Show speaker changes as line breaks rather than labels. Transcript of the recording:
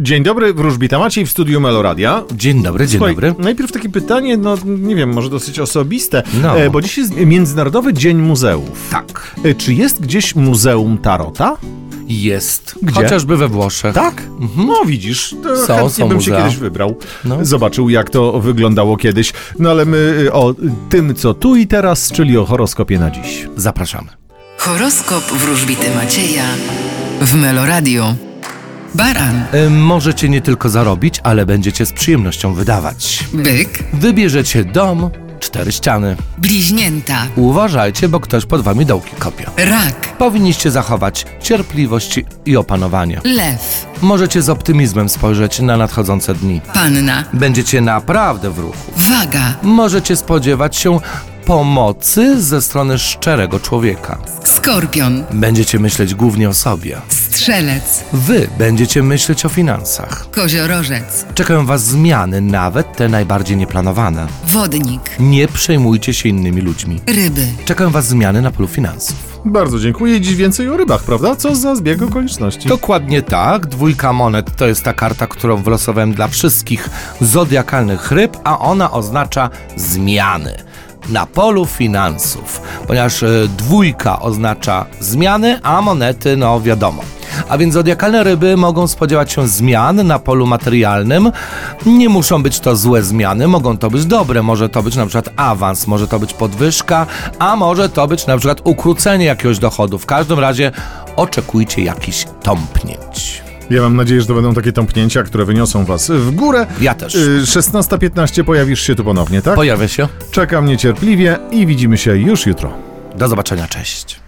Dzień dobry, wróżbita Maciej w studiu Meloradia.
Dzień dobry, dzień
Słuchaj,
dobry.
Najpierw takie pytanie, no nie wiem, może dosyć osobiste,
No.
e, bo dziś jest Międzynarodowy Dzień Muzeów.
Tak.
E, Czy jest gdzieś Muzeum Tarota?
Jest.
Gdzie?
Chociażby we Włoszech.
Tak? No widzisz, to
Są,
chętnie
są
bym się
Mhm. muzea.
kiedyś wybrał.
No.
Zobaczył, jak to wyglądało kiedyś. No ale my y, o tym, co tu i teraz, czyli o horoskopie na dziś.
Zapraszamy.
Horoskop wróżbity Macieja w Meloradio. Baran,
Y, możecie nie tylko zarobić, ale będziecie z przyjemnością wydawać.
byk,
Wybierzecie dom, cztery ściany.
bliźnięta,
Uważajcie, bo ktoś pod wami dołki kopie.
rak,
Powinniście zachować cierpliwość i opanowanie.
lew,
Możecie z optymizmem spojrzeć na nadchodzące dni.
panna,
Będziecie naprawdę w ruchu.
waga,
Możecie spodziewać się pomocy ze strony szczerego człowieka.
skorpion,
Będziecie myśleć głównie o sobie.
strzelec,
Wy będziecie myśleć o finansach.
koziorożec,
Czekają Was zmiany, nawet te najbardziej nieplanowane.
wodnik,
Nie przejmujcie się innymi ludźmi.
ryby.
Czekają Was zmiany na polu finansów.
Bardzo dziękuję. Dziś więcej o rybach, prawda? Co za zbieg okoliczności.
Dokładnie tak, dwójka monet to jest ta karta, którą wylosowałem dla wszystkich zodiakalnych ryb, a ona oznacza zmiany. Na polu finansów, ponieważ y, dwójka oznacza zmiany, a monety, no wiadomo. A więc zodiakalne ryby mogą spodziewać się zmian na polu materialnym. Nie muszą być to złe zmiany, mogą to być dobre. Może to być na przykład awans, może to być podwyżka, a może to być na przykład ukrócenie jakiegoś dochodu. W każdym razie oczekujcie jakichś tąpnięć.
Ja mam nadzieję, że to będą takie tąpnięcia, które wyniosą was w górę.
Ja też.
Y, 16.15 pojawisz się tu ponownie, tak?
Pojawia się.
Czekam niecierpliwie i widzimy się już jutro.
Do zobaczenia, cześć.